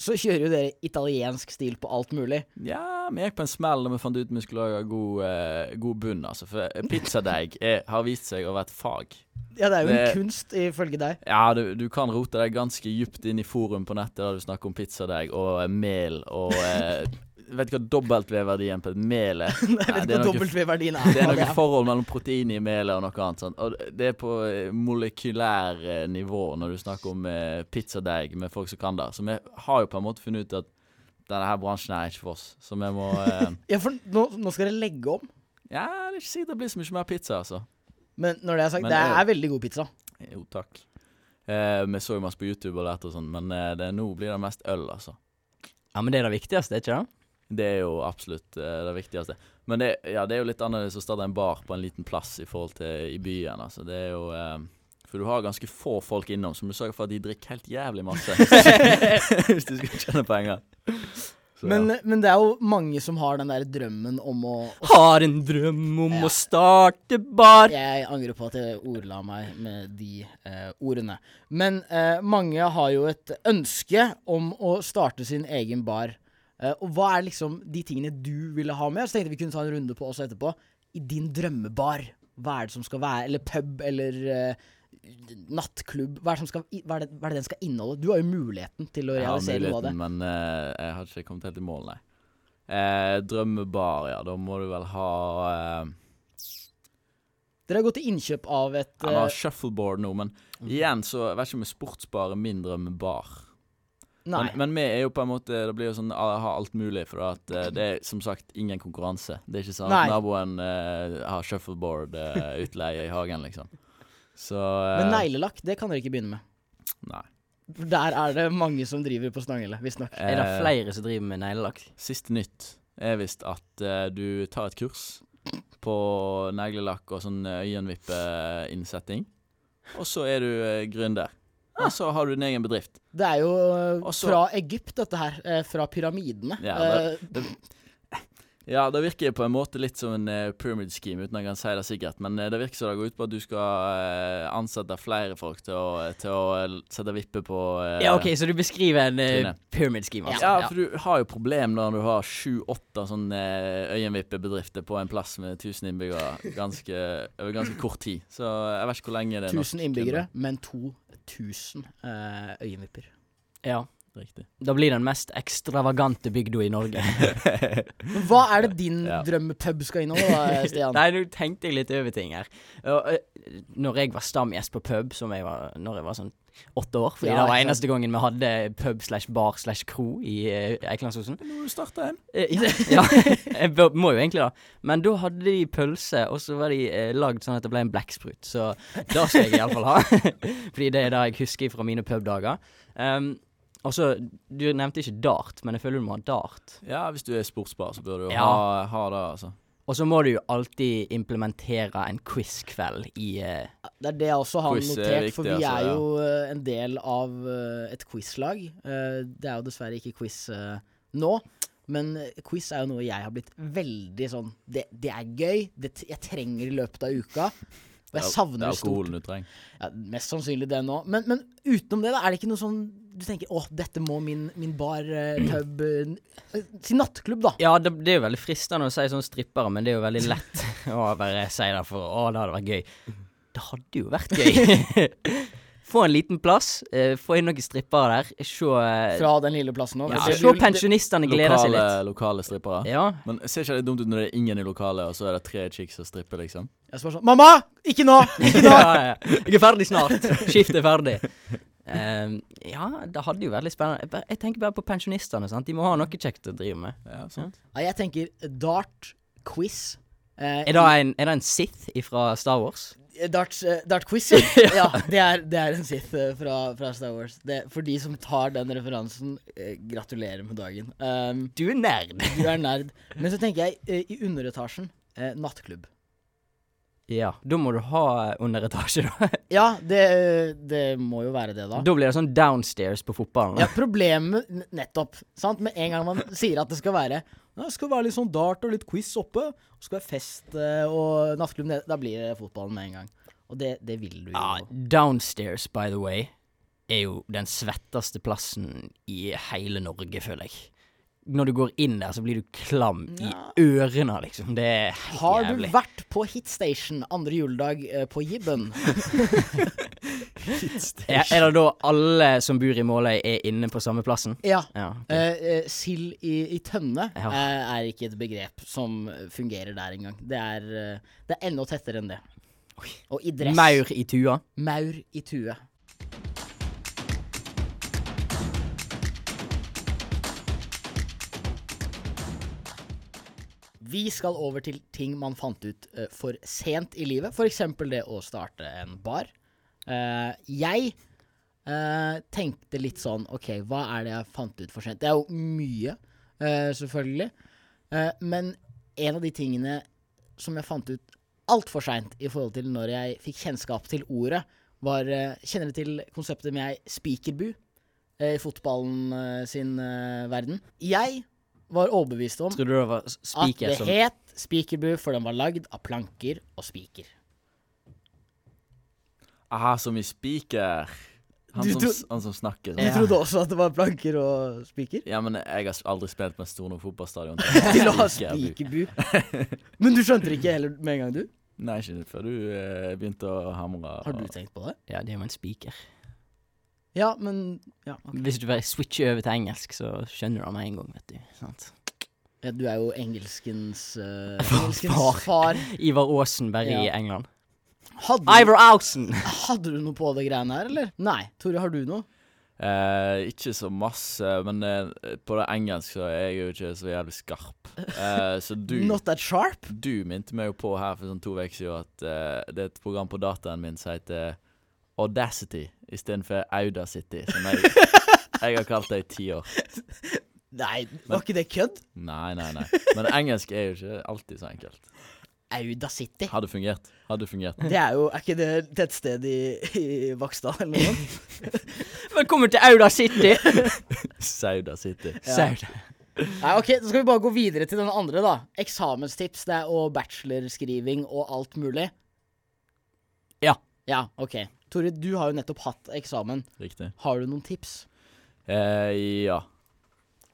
Speaker 6: så kjører jo dere italiensk stil på alt mulig.
Speaker 7: Ja, vi gikk på en smell da vi fant ut vi skulle lage god, eh, god bunn, altså. For pizzadeig er, har vist seg å være et fag.
Speaker 6: Ja, det er jo
Speaker 7: Det-
Speaker 6: en kunst, ifølge deg.
Speaker 7: Ja, du, du kan rote deg ganske djupt inn i forum på nettet der du snakker om pizzadeig og eh, mel og eh, Vet du hva dobbelt-V-verdien på et mel er? Nei,
Speaker 6: Jeg vet
Speaker 7: det
Speaker 6: ikke
Speaker 7: er
Speaker 6: hva
Speaker 7: noe
Speaker 6: W-verdien er.
Speaker 7: Det er
Speaker 6: hva
Speaker 7: noe forhold mellom protein i melet og noe annet. Sånn. Og det er på eh, molekylær eh, nivå når du snakker om eh, pizzadeig med folk som kan det. Så vi har jo på en måte funnet ut at denne her bransjen er ikke for oss. Så vi må eh,
Speaker 6: Ja, for nå, nå skal dere legge om.
Speaker 7: Ja, det er ikke sikkert det blir så mye mer pizza, altså.
Speaker 6: Men når det er sagt,
Speaker 7: Men
Speaker 6: det
Speaker 7: øl.
Speaker 6: er veldig god pizza.
Speaker 7: Jo, takk. Eh, vi så jo masse på YouTube og lærte og sånn, men eh, det, nå blir det mest øl, altså.
Speaker 8: Ja, men det er det viktigste, er ikke det?
Speaker 7: Det er jo absolutt eh, det viktigste. Men det, ja, det er jo litt annerledes å starte en bar på en liten plass i forhold til i byen. Altså. Det er jo eh, For du har ganske få folk innom, så må du sørge for at de drikker helt jævlig masse. Hvis du skal tjene penger. Så,
Speaker 6: Men, men det er jo mange som har den der drømmen om å
Speaker 8: Har en drøm om å starte bar.
Speaker 6: Jeg angrer på at jeg ordla meg med de eh, ordene. Men eh, mange har jo et ønske om å starte sin egen bar. Eh, og hva er liksom de tingene du ville ha med? Så tenkte jeg vi kunne ta en runde på også etterpå. I din drømmebar, hva er det som skal være? Eller pub, eller eh, nattklubb. Hva er, det som skal, i- hva, er det, hva er det den skal inneholde? Du har jo muligheten til å
Speaker 7: jeg har
Speaker 6: realisere noe av det.
Speaker 7: muligheten, men eh, jeg har ikke kommet helt i mål, nei. Eh, drømmebar, ja. Da må du vel ha eh,
Speaker 6: Dere har gått til innkjøp av et
Speaker 7: Han har
Speaker 6: eh,
Speaker 7: shuffleboard nå, men igjen så jeg vet ikke om sportsbar er min drømmebar.
Speaker 6: Nei.
Speaker 7: Men, men vi er jo på en måte Det blir jo sånn alle har alt mulig, for at eh, det er som sagt ingen konkurranse. Det er ikke sånn
Speaker 6: Nei.
Speaker 7: at naboen eh, har shuffleboard-utleie i hagen, liksom. Så eh,
Speaker 6: Men neglelakk, det kan dere ikke begynne med.
Speaker 7: nei.
Speaker 6: For Der er det mange som driver på Stanghelle, visstnok.
Speaker 7: Eh,
Speaker 8: Er det flere som driver med neglelakk?
Speaker 7: Siste nytt er visst at eh, du tar et kurs på neglelakk og sånn øyenvippeinnsetting, og så er du eh, gründer. Og så har du din egen bedrift.
Speaker 6: Det er jo eh,
Speaker 7: Også-
Speaker 6: fra Egypt, dette her. eh, Fra pyramidene.
Speaker 7: Ja,
Speaker 6: Eh,
Speaker 7: Ja, det virker på en måte litt som en eh, pyramid scheme, uten at jeg kan si det sikkert. Men eh, det virker som det går ut på at du skal eh, ansette flere folk til å, til å eh, sette vippe på eh,
Speaker 8: Ja, OK, så du beskriver en uh,
Speaker 7: Trine.
Speaker 8: pyramid scheme, altså.
Speaker 7: Ja, for du har jo problem når du har sju-åtte sånne eh, øyenvippebedrifter på en plass med 1000 innbyggere ganske, over ganske kort tid. Så eh, jeg vet ikke hvor lenge det er nok
Speaker 6: 1000 innbyggere, men 2000 eh, øyenvipper.
Speaker 8: ja.
Speaker 7: kunder. Riktig.
Speaker 8: Da blir det den mest ekstravagante bygda i Norge.
Speaker 6: Men Hva er det din
Speaker 7: Ja.
Speaker 6: drømmepub skal inneholde, da, Stian?
Speaker 8: Nei, nå tenkte jeg litt over ting her. Og, eh, når jeg var stamgjest på pub, som jeg var når jeg var sånn åtte år Fordi
Speaker 6: Ja,
Speaker 8: det var
Speaker 6: ikke
Speaker 8: eneste gangen vi hadde pub slash bar slash kro i eh, Eikelandsosen.
Speaker 7: Nå må du starte en.
Speaker 8: Eh, Ja, ja. jeg bør, må jo egentlig det. Men da hadde de pølse, og så var de eh, lagd sånn at det ble en blekksprut. Så det skal jeg iallfall ha. Fordi det er det jeg husker fra mine pubdager. Um, og så, Du nevnte ikke dart, men jeg føler du må ha dart.
Speaker 7: Ja, hvis du er sportsbar, så bør du jo
Speaker 8: Ja.
Speaker 7: ha, ha det, altså.
Speaker 8: Og så må du jo alltid implementere en quiz-kveld i eh,
Speaker 6: Det er det jeg også har
Speaker 7: Quiz er
Speaker 6: notert,
Speaker 7: viktig,
Speaker 6: for vi
Speaker 7: altså,
Speaker 6: er
Speaker 7: ja.
Speaker 6: jo eh, en del av eh, et quizlag. Eh, Det er jo dessverre ikke quiz eh, nå, men eh, quiz er jo noe jeg har blitt veldig sånn Det, det er gøy, det, t- jeg trenger i løpet av uka. Og jeg
Speaker 7: det
Speaker 6: savner
Speaker 7: er
Speaker 6: det stort.
Speaker 7: alkoholen du trenger.
Speaker 6: Ja, mest sannsynlig det nå. Men, men utenom det, da, er det ikke noe sånn du tenker åh, dette må min, min bar, eh, pub eh, Si nattklubb, da.
Speaker 8: Ja, det, det er jo veldig fristende å si sånn strippere, men det er jo veldig lett å bare si det for å, det hadde vært gøy. Det hadde jo vært gøy. få en liten plass, eh, få inn noen strippere der, se, eh,
Speaker 6: Fra den lille plassen nå.
Speaker 8: ja,
Speaker 6: Det-
Speaker 8: se
Speaker 6: det-
Speaker 8: pensjonistene glede seg
Speaker 7: Lokale,
Speaker 8: litt.
Speaker 7: lokale strippere.
Speaker 8: Ja.
Speaker 7: Men ser ikke det dumt ut når det er ingen i lokalet, og så er det tre chicks som stripper, liksom?
Speaker 6: Jeg spør sånn Mamma! Ikke nå! Ikke nå!
Speaker 8: ja, ja. Jeg er ferdig snart. Skiftet er ferdig. Eh, ja, det hadde jo vært litt spennende. Jeg bare- Jeg tenker bare på pensjonistene. sant? De må ha noe kjekt å drive med.
Speaker 7: Ja, sant.
Speaker 6: Nei, jeg tenker dart, quiz eh,
Speaker 8: Er det en, er det en Sith fra Star Wars?
Speaker 6: Dart, eh, dart quiz, ja. ja det, er, det er en Sith eh, fra, fra Star Wars. Det, for de som tar den referansen, eh, gratulerer med dagen. Um,
Speaker 8: Du er nerd.
Speaker 6: du er nerd. Men så tenker jeg, eh, i underetasjen, eh, nattklubb.
Speaker 8: Ja, da må du ha underetasje, da.
Speaker 6: Ja, det, eh, det må jo være det, da.
Speaker 8: Da blir det sånn downstairs på fotballen.
Speaker 6: Ja, problemet n- Nettopp. sant? Med en gang man sier at det skal være ja, Det skal være litt sånn dart og litt quiz oppe, og skal være fest eh, og nattklubb nede, da blir det fotballen med en gang. Og det, det vil du jo.
Speaker 8: Ja, downstairs, by the way, er jo den svetteste plassen i hele Norge, føler jeg. Når du går inn der, så blir du klam i ørene, liksom. Det er helt
Speaker 6: Har du
Speaker 8: jævlig.
Speaker 6: vært på Hitstation andre juledag eh, på Jibben?
Speaker 8: Er, er det da alle som bor i Måløy, er inne på samme plassen?
Speaker 6: Ja.
Speaker 8: Ja. ok.
Speaker 6: Eh, eh, sild i, i tønne
Speaker 8: Ja.
Speaker 6: eh, er ikke et begrep som fungerer der engang. Det er, eh, det er enda tettere enn det. Og i dress.
Speaker 8: Maur i tua.
Speaker 6: Maur i tue. Vi skal over til ting man fant ut eh, for sent i livet, f.eks. det å starte en bar. Eh, jeg eh, tenkte litt sånn OK, hva er det jeg fant ut for sent? Det er jo mye, eh, selvfølgelig. Eh, men en av de tingene som jeg fant ut altfor seint i forhold til når jeg fikk kjennskap til ordet, var eh, Kjenner du til konseptet med ei spikerbu eh, i fotballen eh, sin eh, verden? Jeg var overbevist om
Speaker 8: Trodde du det var s-
Speaker 6: at
Speaker 8: spiker
Speaker 6: det
Speaker 8: som
Speaker 6: het spikerbu, for den var lagd av planker og spiker.
Speaker 7: Aha, som i spiker. Han,
Speaker 6: Du
Speaker 7: som,
Speaker 6: tro-
Speaker 7: s- han som snakker
Speaker 6: Du
Speaker 7: sånn.
Speaker 6: trodde også at det var planker og spiker?
Speaker 7: Ja, men jeg har aldri spilt på en stor nok fotballstadion.
Speaker 6: Til å ha
Speaker 7: Spikerbu.
Speaker 6: spikerbu. Men du skjønte det ikke heller med en gang, du?
Speaker 7: Nei, ikke før du eh, begynte å hamre.
Speaker 6: Har du
Speaker 7: og-
Speaker 6: tenkt på det?
Speaker 8: Ja, det er jo en spiker.
Speaker 6: Ja, men ja. ok.
Speaker 8: Hvis du bare switcher over til engelsk, så skjønner du det med en gang, vet du. Sant?
Speaker 6: Ja, du er jo engelskens, eh,
Speaker 8: Far-
Speaker 6: engelskens far.
Speaker 8: Ivar Aasenberg i
Speaker 6: Ja.
Speaker 8: England.
Speaker 6: Hadde du,
Speaker 8: Ivar Ausen!
Speaker 6: hadde du noe på det greiene her, eller? Nei. Tore, har du noe?
Speaker 7: Eh, ikke så masse, men eh, på det engelsk så er jeg jo ikke så jævlig skarp. Eh, så du
Speaker 6: Not that sharp?
Speaker 7: Du minte meg jo på her for sånn to uker siden at eh, det er et program på dataen min som heter Audacity istedenfor Audacity, som jeg, jeg har kalt det i ti år.
Speaker 6: Nei, var ikke det kødd?
Speaker 7: Nei, nei, nei. Men engelsk er jo ikke alltid så enkelt.
Speaker 6: Auda City.
Speaker 7: Hadde fungert. Hadde fungert.
Speaker 6: Det er jo Er ikke det tettsted i, i Vaksdal eller noe sånt?
Speaker 8: Velkommen til Auda City!
Speaker 7: Sauda City.
Speaker 8: Sauda.
Speaker 6: Nei, ok, så skal vi bare gå videre til den andre, da. Eksamenstips det er, og bachelorskriving og alt mulig.
Speaker 8: Ja.
Speaker 6: Ja, ok. Tore, du har jo nettopp hatt eksamen.
Speaker 7: Riktig.
Speaker 6: Har du noen tips?
Speaker 7: Eh, ja.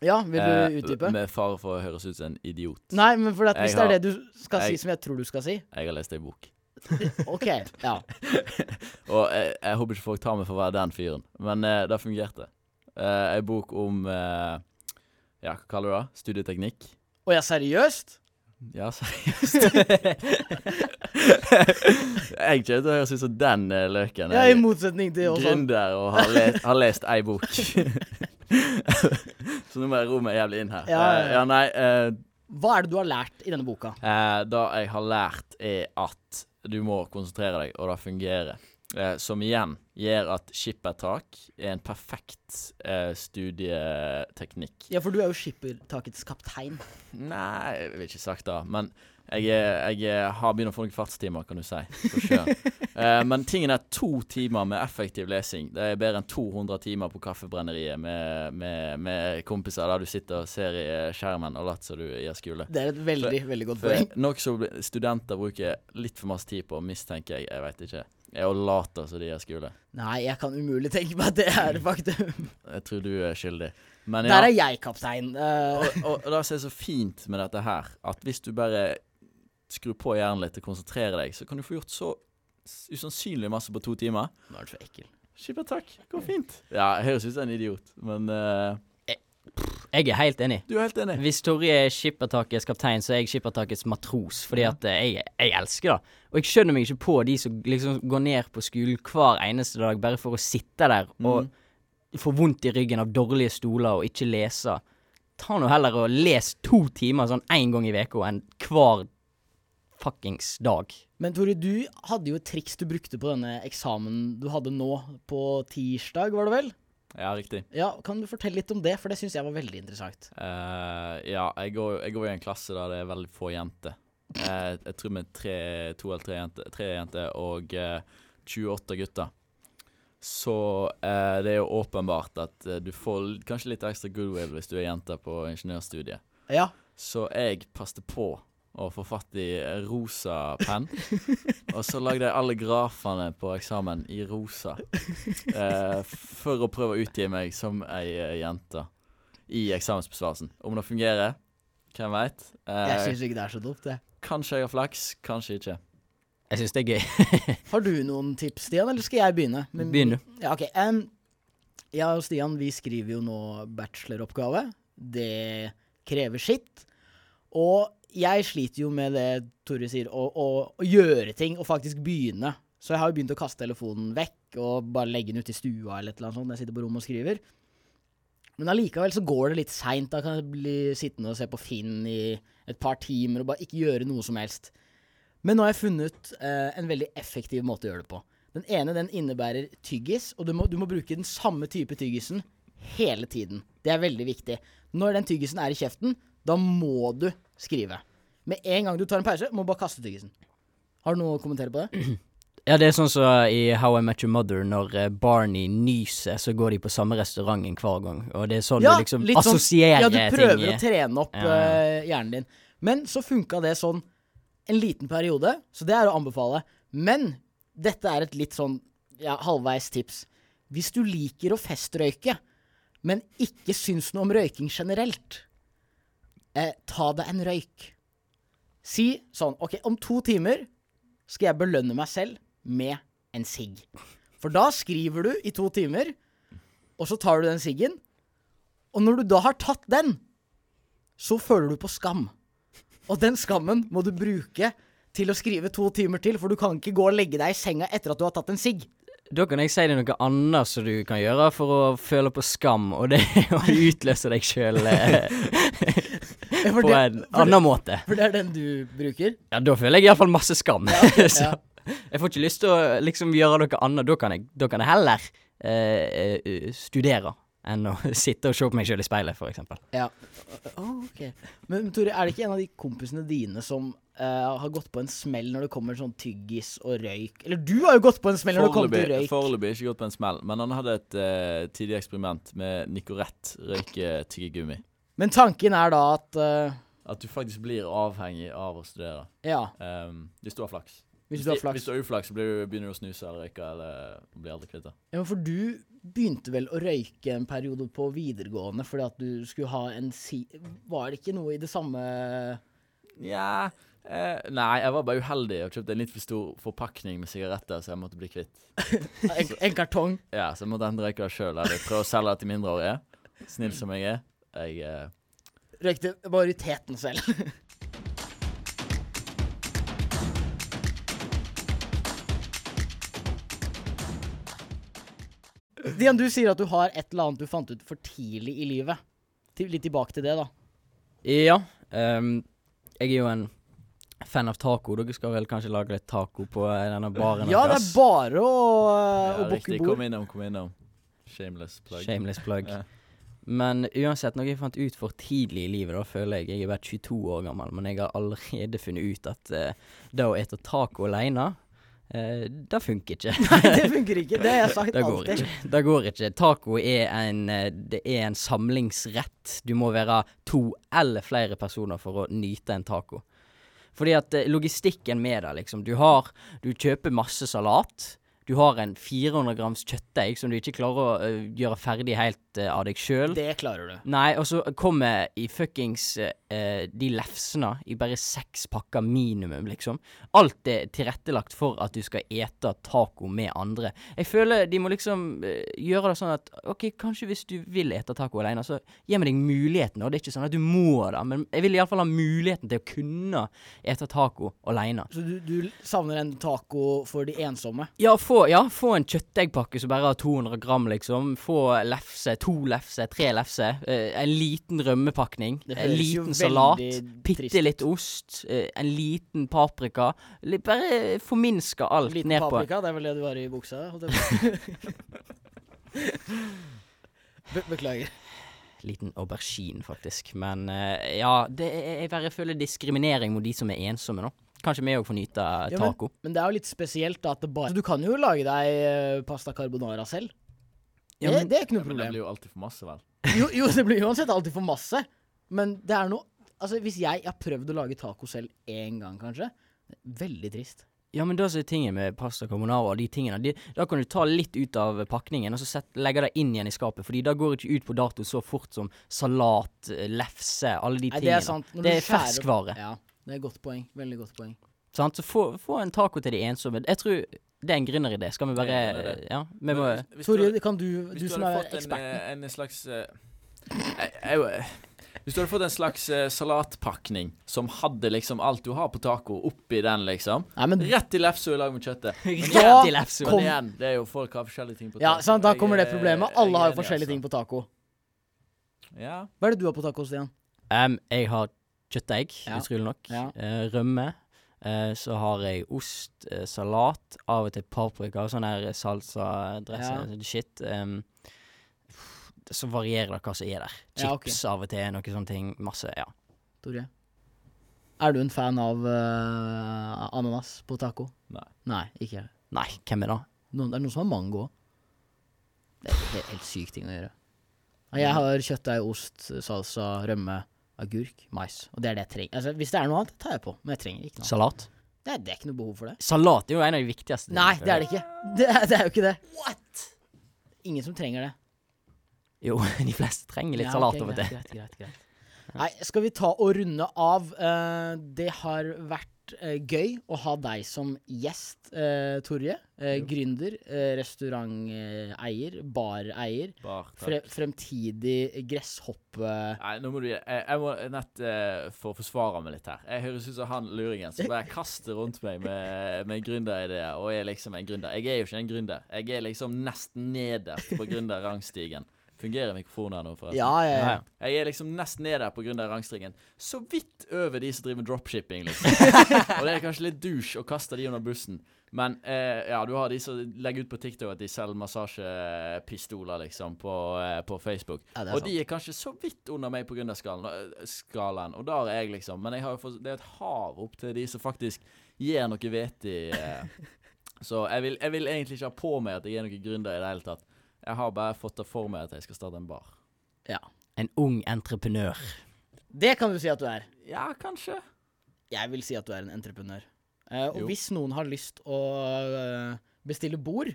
Speaker 6: Ja, vil du
Speaker 7: Eh,
Speaker 6: utdype?
Speaker 7: Med fare for å høres ut som en idiot.
Speaker 6: Nei, men for at hvis
Speaker 7: Jeg
Speaker 6: det
Speaker 7: har-
Speaker 6: er det du skal
Speaker 7: jeg-
Speaker 6: si som jeg tror du skal si
Speaker 7: Jeg har lest ei bok.
Speaker 6: Ok, ja.
Speaker 7: Og jeg, jeg håper ikke folk tar meg for å være den fyren, men eh, det fungerte. Eh, ei bok om eh, Ja, hva kaller du det? Studieteknikk?
Speaker 6: Å ja, seriøst?
Speaker 7: Ja, seriøst. jeg kommer til å høres ut som den eh, løken.
Speaker 6: Ja, I
Speaker 7: Jeg
Speaker 6: motsetning til
Speaker 7: er
Speaker 6: oss andre.
Speaker 7: gründer og har lest, har lest ei bok. Så nå må jeg ro meg jævlig inn her.
Speaker 6: Ja, ja, ja.
Speaker 7: Eh, ja nei, eh,
Speaker 6: Hva er det du har lært i denne boka?
Speaker 7: Eh, det jeg har lært, er at du må konsentrere deg, og det fungerer. Eh, som igjen gjør at skippertak er en perfekt eh, studieteknikk.
Speaker 6: Ja, for du er jo skippertakets kaptein.
Speaker 7: Nei, jeg vil ikke sagt det, men jeg, er- jeg er- har begynt å få noen fartstimer, kan du si, på sjøen. eh, men tingen er to timer med effektiv lesing. Det er bedre enn 200 timer på Kaffebrenneriet med, med, med kompiser der du sitter og ser i eh, skjermen og later som du gjør skole.
Speaker 6: Det er et veldig, veldig godt poeng.
Speaker 7: For noe som bli- studenter bruker litt for masse tid på, mistenker jeg, jeg vet ikke, er å late som de er skole.
Speaker 6: Nei, jeg kan umulig tenke meg at det er faktum.
Speaker 7: Jeg tror du er skyldig. Men ja,
Speaker 6: Der er jeg kaptein. eh,
Speaker 7: og, og, og det som er så fint med dette her, at hvis du bare skrur på hjernen litt og konsentrerer deg, så kan du få gjort så s- usannsynlig masse på to timer.
Speaker 6: Nå er du så ekkel.
Speaker 7: Skipper takk, går fint. Ja, jeg høres ut som en idiot, men eh,
Speaker 8: Jeg er helt enig.
Speaker 7: du er helt enig.
Speaker 8: Hvis Torje er skippertakets kaptein, så er jeg skippertakets matros. Fordi at eh, jeg, jeg elsker det. Og jeg skjønner meg ikke på de som liksom går ned på skolen hver eneste dag bare for å sitte der
Speaker 6: Mm.
Speaker 8: og få vondt i ryggen av dårlige stoler og ikke lese. Ta nå heller og les to timer sånn én gang i uka enn hver fuckings dag.
Speaker 6: Men Tore, du hadde jo et triks du brukte på denne eksamen du hadde nå på tirsdag, var det vel?
Speaker 7: Ja, riktig.
Speaker 6: Ja, Kan du fortelle litt om det, for det syns jeg var veldig interessant.
Speaker 7: Eh, ja, jeg går, jeg går i en klasse der det er veldig få jenter. Eh, jeg tror vi er tre, to eller tre jenter, tre jenter og eh, 28 gutter. Så eh, det er jo åpenbart at eh, du får l- kanskje litt ekstra goodwill hvis du er jente på ingeniørstudiet.
Speaker 6: Ja,
Speaker 7: Så jeg passte på å få fatt i rosa penn. Og så lagde jeg alle grafene på eksamen i rosa. Eh, for å prøve å utgi meg som ei eh, jente i eksamensbesvarelsen. Om det fungerer, hvem veit.
Speaker 6: Jeg
Speaker 7: Eh,
Speaker 6: syns ikke det er så dumt, det.
Speaker 7: kanskje jeg har flaks, kanskje ikke.
Speaker 8: Jeg syns det er gøy.
Speaker 6: Har du noen tips, Stian, eller skal jeg begynne? Men-
Speaker 8: Begynn du.
Speaker 6: Ja, ok. em, jeg og Stian vi skriver jo nå bacheloroppgave. Det krever sitt. Og jeg sliter jo med det Tore sier, å, å, å gjøre ting og faktisk begynne. Så jeg har jo begynt å kaste telefonen vekk og bare legge den ut i stua eller et eller annet sånt når jeg sitter på rommet og skriver. Men allikevel så går det litt seint. Da kan jeg bli sittende og se på Finn i et par timer og bare ikke gjøre noe som helst. Men nå har jeg funnet eh, en veldig effektiv måte å gjøre det på. Den ene den innebærer tyggis, og du må, du må bruke den samme type tyggisen hele tiden. Det er veldig viktig. Når den tyggisen er i kjeften, da må du skrive. Med en gang du tar en pause, må du bare kaste tyggisen. Har du noe å kommentere på det?
Speaker 8: Ja, det er sånn som i How I Met Your Mother, når eh, Barney nyser, så går de på samme restauranten hver gang. Og det er sånn du liksom
Speaker 6: litt sånn-
Speaker 8: assosierer
Speaker 6: Ja, du prøver
Speaker 8: ting. i-
Speaker 6: å trene opp
Speaker 8: Ja, ja.
Speaker 6: eh, hjernen din. Men så funka det sånn en liten periode, så det er å anbefale. Men dette er et litt sånn ja, halvveis tips. Hvis du liker å festrøyke, men ikke syns noe om røyking generelt, eh, ta deg en røyk. Si sånn OK, om to timer skal jeg belønne meg selv med en sigg. For da skriver du i to timer, og så tar du den siggen. Og når du da har tatt den, så føler du på skam. Og den skammen må du bruke til å skrive to timer til, for du kan ikke gå og legge deg i senga etter at du har tatt en sigg.
Speaker 8: Da kan jeg si deg noe annet som du kan gjøre for å føle på skam, og det er å utløse deg sjøl
Speaker 6: For
Speaker 8: på
Speaker 6: det, for, det,
Speaker 8: en annen måte.
Speaker 6: for det er den du bruker?
Speaker 8: Ja, da føler jeg iallfall masse skam.
Speaker 6: ja.
Speaker 8: Så jeg får ikke lyst til å liksom gjøre noe annet. Da kan jeg, da kan jeg heller eh, eh, studere enn å sitte og se på meg sjøl i speilet, for eksempel.
Speaker 6: Ja. Å, ok. Men Tore, er det ikke en av de kompisene dine som eh, har gått på en smell når det kommer sånn tyggis og røyk? Eller du har jo gått på en smell når det kommer til
Speaker 7: Foreløpig
Speaker 6: røyk.
Speaker 7: foreløpig ikke gått på en smell, men han hadde et eh, tidlig eksperiment med Nicorette røyketyggegummi.
Speaker 6: Men tanken er da at eh,
Speaker 7: At du faktisk blir avhengig av å studere.
Speaker 6: Ja,
Speaker 7: Ehm, hvis du har flaks.
Speaker 6: hvis du har flaks.
Speaker 7: Hvis du har uflaks, så blir du, begynner du å snuse eller røyke eller blir aldri kvitt det.
Speaker 6: Ja, men for du begynte vel å røyke en periode på videregående fordi at du skulle ha en si... Var det ikke noe i det samme
Speaker 7: Nja eh, Nei, jeg var bare uheldig og kjøpte en litt for stor forpakning med sigaretter, så jeg måtte bli kvitt.
Speaker 6: En, en kartong?
Speaker 7: Ja, Så jeg måtte enten røyke det sjøl eller prøve å selge det til mindreårige. Snill som jeg er. Jeg eh,
Speaker 6: Røykte majoriteten selv. Stian, du sier at du har et eller annet du fant ut for tidlig i livet. Til, litt tilbake til det, da.
Speaker 8: Ja. ehm, jeg er jo en fan av taco. Dere skal vel kanskje lage litt taco på eh, denne baren?
Speaker 6: Ja, det er
Speaker 8: deres?
Speaker 6: bare å, å
Speaker 7: ja,
Speaker 6: booke
Speaker 7: Riktig. Kom
Speaker 6: bord.
Speaker 7: innom, kom innom. Shameless plug.
Speaker 8: Shameless plug.
Speaker 7: Ja.
Speaker 8: Men uansett, noe jeg fant ut for tidlig i livet, da føler jeg Jeg er bare 22 år gammel, men jeg har allerede funnet ut at eh, det å ete taco aleine, det funker ikke.
Speaker 6: Nei, det funker ikke. Det har jeg sagt
Speaker 8: Det går
Speaker 6: alltid.
Speaker 8: ikke. Det går ikke. Taco er en, eh, det er en samlingsrett. Du må være to eller flere personer for å nyte en taco. Fordi at eh, logistikken med det, liksom. Du har Du kjøper masse salat. Du har en 400 grams kjøttdeig som du ikke klarer å eh, gjøre ferdig helt eh, av deg sjøl.
Speaker 6: Det klarer du.
Speaker 8: Nei, og så kommer i fuckings eh, de lefsene i bare seks pakker minimum, liksom. Alt er tilrettelagt for at du skal ete taco med andre. Jeg føler de må liksom eh, gjøre det sånn at OK, kanskje hvis du vil ete taco alene, så gi meg deg muligheten. Og det er ikke sånn at du må det, men jeg vil iallfall ha muligheten til å kunne ete taco alene.
Speaker 6: Så du, du savner en taco for de ensomme?
Speaker 8: Ja, få, ja, få en kjøttdeigpakke som bare har 200 gram, liksom. Få lefse, to lefse, tre lefse. Eh, en liten rømmepakning.
Speaker 6: Det
Speaker 8: En
Speaker 6: høres jo
Speaker 8: liten salat.
Speaker 6: veldig trist
Speaker 8: Bitte litt ost. eh, en liten paprika. Litt, bare forminske alt
Speaker 6: Liten
Speaker 8: ned på
Speaker 6: paprika, det er vel det du har i buksa? holdt jeg på å si. Be beklager.
Speaker 8: Liten aubergine, faktisk. Men eh, ja, det er, jeg bare føler diskriminering mot de som er ensomme, nå. Kanskje vi òg får nyte
Speaker 6: Ja, men,
Speaker 8: taco.
Speaker 6: men det er jo litt spesielt da, at det bare Du kan jo lage deg eh, pasta carbonara selv.
Speaker 8: Ja,
Speaker 6: det,
Speaker 8: men-
Speaker 6: det er ikke noe
Speaker 7: Men det
Speaker 6: problem.
Speaker 7: blir jo alltid for masse, vel.
Speaker 6: Jo, jo, det blir uansett alltid for masse. Men det er noe Altså, hvis jeg har prøvd å lage taco selv én gang, kanskje Veldig trist.
Speaker 8: Ja, men det som er tingen med pasta carbonara og de tingene, de, da kan du ta litt ut av pakningen og så sett, legge det inn igjen i skapet, fordi det går ikke ut på dato så fort som salat, eh, lefse, alle de
Speaker 6: Nei, det
Speaker 8: tingene.
Speaker 6: er sant. Når du
Speaker 8: Det er
Speaker 6: skjærer opp-
Speaker 8: ferskvare.
Speaker 6: Ja, det er et godt poeng. Veldig godt poeng.
Speaker 8: Sant? Så få, få en taco til de ensomme. Jeg tror det er en gründeridé. Skal vi bare
Speaker 7: Det er en gründeridé.
Speaker 8: Ja, vi må
Speaker 7: Hvis du-
Speaker 6: Tore, kan du,
Speaker 7: Hvis
Speaker 6: du
Speaker 7: du,
Speaker 6: som
Speaker 7: hadde
Speaker 6: er
Speaker 7: fått en,
Speaker 6: eksperten
Speaker 7: eh, en slags eh, jeg, jeg, eh, Hvis du hadde fått en slags eh, salatpakning som hadde liksom alt du har på taco, oppi den, liksom.
Speaker 6: Nei, men
Speaker 7: Rett til lefse i lag med kjøttet.
Speaker 6: Da
Speaker 8: Rett i lefse.
Speaker 7: Men igjen, det er jo folk har forskjellige ting på taco.
Speaker 6: Ja, sant, da
Speaker 7: Jeg
Speaker 6: kommer det
Speaker 7: er-
Speaker 6: problemet.
Speaker 7: jeg
Speaker 6: Alle
Speaker 7: er
Speaker 6: har jo
Speaker 7: enig,
Speaker 6: forskjellige ting
Speaker 7: altså.
Speaker 6: på taco.
Speaker 7: Ja.
Speaker 6: Hva er det du har på taco, Stian?
Speaker 8: Em, jeg har kjøttdeig,
Speaker 6: Ja.
Speaker 8: utrolig nok.
Speaker 6: Ja.
Speaker 8: Eh, rømme. Eh, så har jeg ost, eh, salat, av og til paprika og sånn her salsa-dress sånn shit. Em, så varierer det hva som er der.
Speaker 6: Ja, ok.
Speaker 8: Chips av og til, noen sånne ting. Masse, ja.
Speaker 6: Tore? Er du en fan av eh, ananas på taco?
Speaker 7: Nei.
Speaker 6: Nei, ikke jeg.
Speaker 8: Nei, hvem er det?
Speaker 6: Noen, det er noen som har mango òg. Det er helt, helt syk ting å gjøre. Ja, Jeg har kjøttdeig, ost, salsa, rømme, agurk, mais. Og det er det jeg trenger. Altså, hvis det er noe annet, tar jeg på. Men jeg trenger ikke noe. annet.
Speaker 8: Salat?
Speaker 6: Det er, det er ikke noe behov for det.
Speaker 8: Salat er jo en av de viktigste.
Speaker 6: Nei, det er det ikke. Det er, det er jo ikke det. Ingen som trenger det.
Speaker 8: Jo, de fleste trenger litt
Speaker 6: Ja,
Speaker 8: salat
Speaker 6: ok,
Speaker 8: av og
Speaker 6: greit,
Speaker 8: til.
Speaker 6: Greit, greit, greit. Nei, skal vi ta og runde av? Eh, det har vært eh, gøy å ha deg som gjest, eh, Torje. Eh, gründer, eh, restauranteier, bareier.
Speaker 7: Bar, takk.
Speaker 6: Fre fremtidig gresshoppe...
Speaker 7: Nei, nå må du gi- Jeg, jeg må nett eh, få forsvare meg litt her. Jeg høres ut som han luringen som bare kaster rundt meg med, med gründerideer, og er liksom en gründer. Jeg er jo ikke en gründer. Jeg er liksom nesten nederst på gründerrangstigen. Fungerer mikrofonen her nå, forresten?
Speaker 6: Ja, altså. ja, ja.
Speaker 7: Jeg er liksom nesten ned der på grunn av rangstigen. Så vidt over de som driver med dropshipping, liksom. og det er kanskje litt douche å kaste de under bussen. Men eh, ja, du har de som legger ut på TikTok at de selger massasjepistoler, liksom, på, eh, på Facebook.
Speaker 6: Ja, det er
Speaker 7: og
Speaker 6: sant.
Speaker 7: de er kanskje så vidt under meg på gründerskalaen, og, eh, skalaen, og der er jeg, liksom. Men jeg har jo fått, det er et hav opp til de som faktisk gjør noe vetig. Eh. Så jeg vil, jeg vil egentlig ikke ha på meg at jeg er noen gründer i det hele tatt. Jeg har bare fått det for meg at jeg skal starte en bar.
Speaker 6: ja.
Speaker 8: En ung entreprenør.
Speaker 6: Det kan du si at du er.
Speaker 7: Ja, kanskje.
Speaker 6: Jeg vil si at du er en entreprenør. Eh, og
Speaker 7: Jo.
Speaker 6: hvis noen har lyst å eh, bestille bord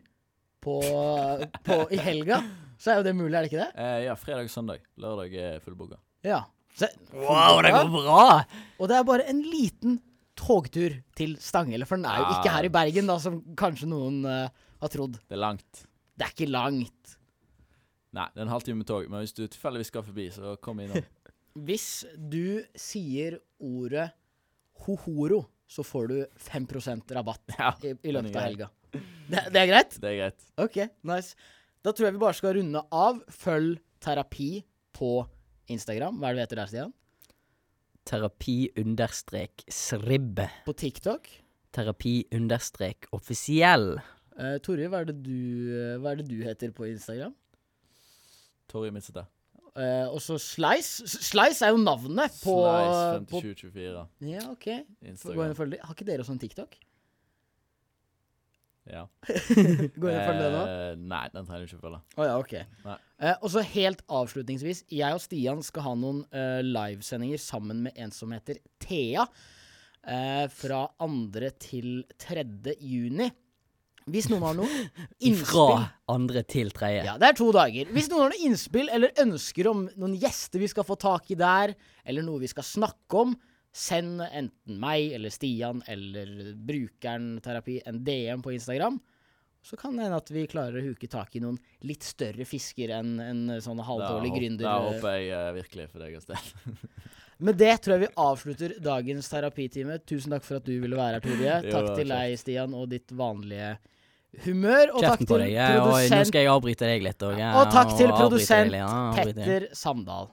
Speaker 6: på, på, i helga, så er jo det mulig, er det ikke det?
Speaker 7: Eh, ja, fredag og søndag. Lørdag er fullboka.
Speaker 6: Ja. Så,
Speaker 8: Wow, det går bra!
Speaker 6: Og det er bare en liten togtur til Stanghelle, for den er jo ikke
Speaker 7: Ja.
Speaker 6: her i Bergen, da, som kanskje noen eh, har trodd.
Speaker 7: Det er langt.
Speaker 6: Det er ikke langt.
Speaker 7: Nei, det er en halvtime med tog, men hvis du tilfeldigvis skal forbi, så kom innom.
Speaker 6: Hvis du sier ordet hohoro, så får du 5 rabatt
Speaker 7: Ja,
Speaker 6: i, i
Speaker 7: den er
Speaker 6: løpet av
Speaker 7: grei.
Speaker 6: helga. Det, det er greit?
Speaker 7: Det er greit.
Speaker 6: Ok, nice. Da tror jeg vi bare skal runde av. Følg terapi på Instagram. Hva er det du heter der, Stian?
Speaker 8: Terapi understrek sribbe.
Speaker 6: På TikTok.
Speaker 8: Terapi understrek offisiell.
Speaker 6: Uh, Torje, hva, er det du- eh, hva er det du heter på Instagram?
Speaker 7: Torje Midtsete.
Speaker 6: Eh, og så Slice. S- Slice er jo navnet på eh,
Speaker 7: Slice
Speaker 6: på-
Speaker 7: 5724.
Speaker 6: Ja, OK. Gå inn
Speaker 7: Instagram.
Speaker 6: og følg det. Har ikke dere også en TikTok?
Speaker 7: Ja.
Speaker 6: Gå inn og følg det nå.
Speaker 7: Eh, nei, den trenger du ikke følge.
Speaker 6: Å ja, ok.
Speaker 7: Nei.
Speaker 6: Eh, og så helt avslutningsvis, jeg og Stian skal ha noen eh, livesendinger sammen med en som heter Thea. eh, fra 2. til 3. juni. Hvis noen har noe innspill
Speaker 8: Fra andre til tredje.
Speaker 6: ja, det er to dager. Hvis noen har noen innspill eller ønsker om noen gjester vi skal få tak i der, eller noe vi skal snakke om, send enten meg eller Stian eller brukeren terapi en DM på Instagram. Så kan det hende at vi klarer å huke tak i noen litt større fisker enn en sånne halvdårlige
Speaker 7: Da
Speaker 6: gründer.
Speaker 7: håper jeg eh, virkelig for deg, Gastel.
Speaker 6: Med det tror jeg vi avslutter dagens terapitime. Tusen takk for at du ville være her, Torje.
Speaker 7: Jo,
Speaker 6: Takk
Speaker 7: det var
Speaker 6: til
Speaker 7: kjekt.
Speaker 6: deg, Stian, og ditt vanlige humør. Og takk
Speaker 8: Kjeften på
Speaker 6: til
Speaker 8: deg. Ja, og nå
Speaker 6: produsent
Speaker 8: skal jeg avbryte deg litt òg.
Speaker 6: Og takk til produsent Petter Samdal.